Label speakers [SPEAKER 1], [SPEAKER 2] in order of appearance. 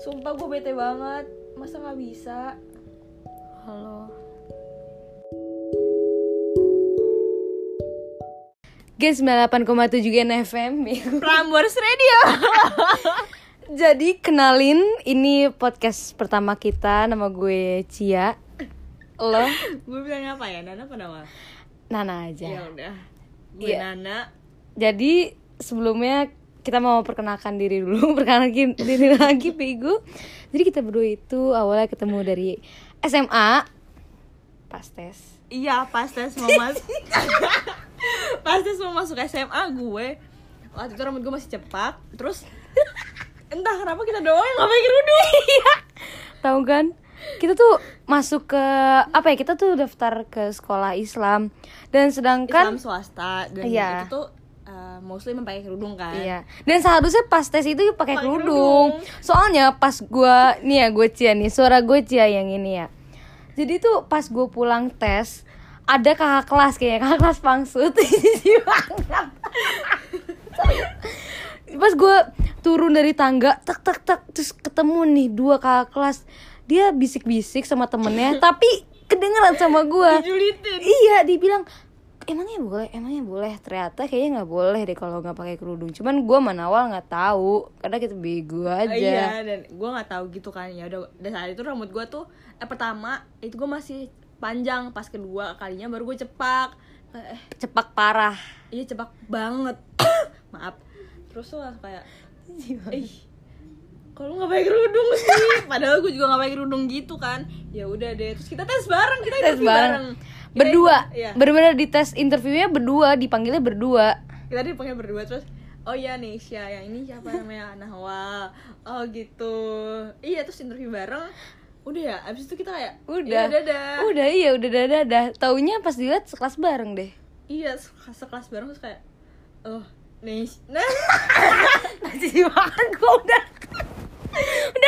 [SPEAKER 1] Sumpah gue bete banget. Masa nggak bisa? Halo.
[SPEAKER 2] Guys, 98,7 Gen FM.
[SPEAKER 1] Prambors Radio.
[SPEAKER 2] Jadi kenalin ini podcast pertama kita. Nama gue Cia. Lo
[SPEAKER 1] gue bilang apa ya? Nana apa nama?
[SPEAKER 2] Nana
[SPEAKER 1] Ya
[SPEAKER 2] aja.
[SPEAKER 1] udah. Gue
[SPEAKER 2] Iya.
[SPEAKER 1] Nana.
[SPEAKER 2] Jadi sebelumnya kita mau perkenalkan diri dulu, perkenalkan diri lagi Bego. Jadi kita berdua itu awalnya ketemu dari SMA pas tes.
[SPEAKER 1] Iya, pas tes mau masuk. pas tes mau masuk SMA gue. Waktu itu rambut gue masih cepak. Terus entah kenapa kita doang yang nggak pakai kerudung. Iya.
[SPEAKER 2] Tahu kan? Kita tuh masuk ke apa ya? Kita tuh daftar ke sekolah Islam dan sedangkan
[SPEAKER 1] Islam swasta dan
[SPEAKER 2] Iya.
[SPEAKER 1] itu tuh eh, mostly memakai kerudung kan.
[SPEAKER 2] Iya. Dan seharusnya pas tes itu pakai
[SPEAKER 1] Pakai
[SPEAKER 2] kerudung. Soalnya pas gua nih ya gue Cia nih, suara gue Cia yang ini ya. Jadi tuh pas gue pulang tes ada kakak kelas kayaknya kakak kelas pangsut Jijik banget. pas gue turun dari tangga tak tak tak terus ketemu nih dua kakak kelas dia bisik-bisik sama temennya tapi kedengeran sama gua
[SPEAKER 1] Dijulitin.
[SPEAKER 2] iya dibilang emangnya boleh emangnya boleh ternyata kayaknya nggak boleh deh kalau nggak pakai kerudung cuman gua manawal nggak tahu karena kita bego aja
[SPEAKER 1] Iya dan gue nggak tahu gitu kan ya udah dan saat itu rambut gue tuh eh, pertama itu gue masih panjang pas kedua kalinya baru gue cepak eh, eh,
[SPEAKER 2] cepak parah
[SPEAKER 1] iya cepak banget maaf terus tuh langsung kayak ih kalau nggak pakai kerudung sih padahal gue juga nggak pakai kerudung gitu kan ya udah deh terus kita tes bareng kita
[SPEAKER 2] tes
[SPEAKER 1] interview
[SPEAKER 2] bareng
[SPEAKER 1] Kita
[SPEAKER 2] berdua
[SPEAKER 1] inter- iya.
[SPEAKER 2] bener-bener di tes interviewnya berdua dipanggilnya berdua
[SPEAKER 1] kita dipanggil berdua terus oh iya Nisha yang ini siapa namanya Nahwa oh gitu iya terus interview bareng udah ya abis itu kita kayak
[SPEAKER 2] udah
[SPEAKER 1] "Ya udah dah."
[SPEAKER 2] udah iya udah dadah dadah taunya pas dilihat sekelas bareng deh
[SPEAKER 1] iya se- sekelas bareng terus kayak oh Nisha nah
[SPEAKER 2] Jijik banget gue udah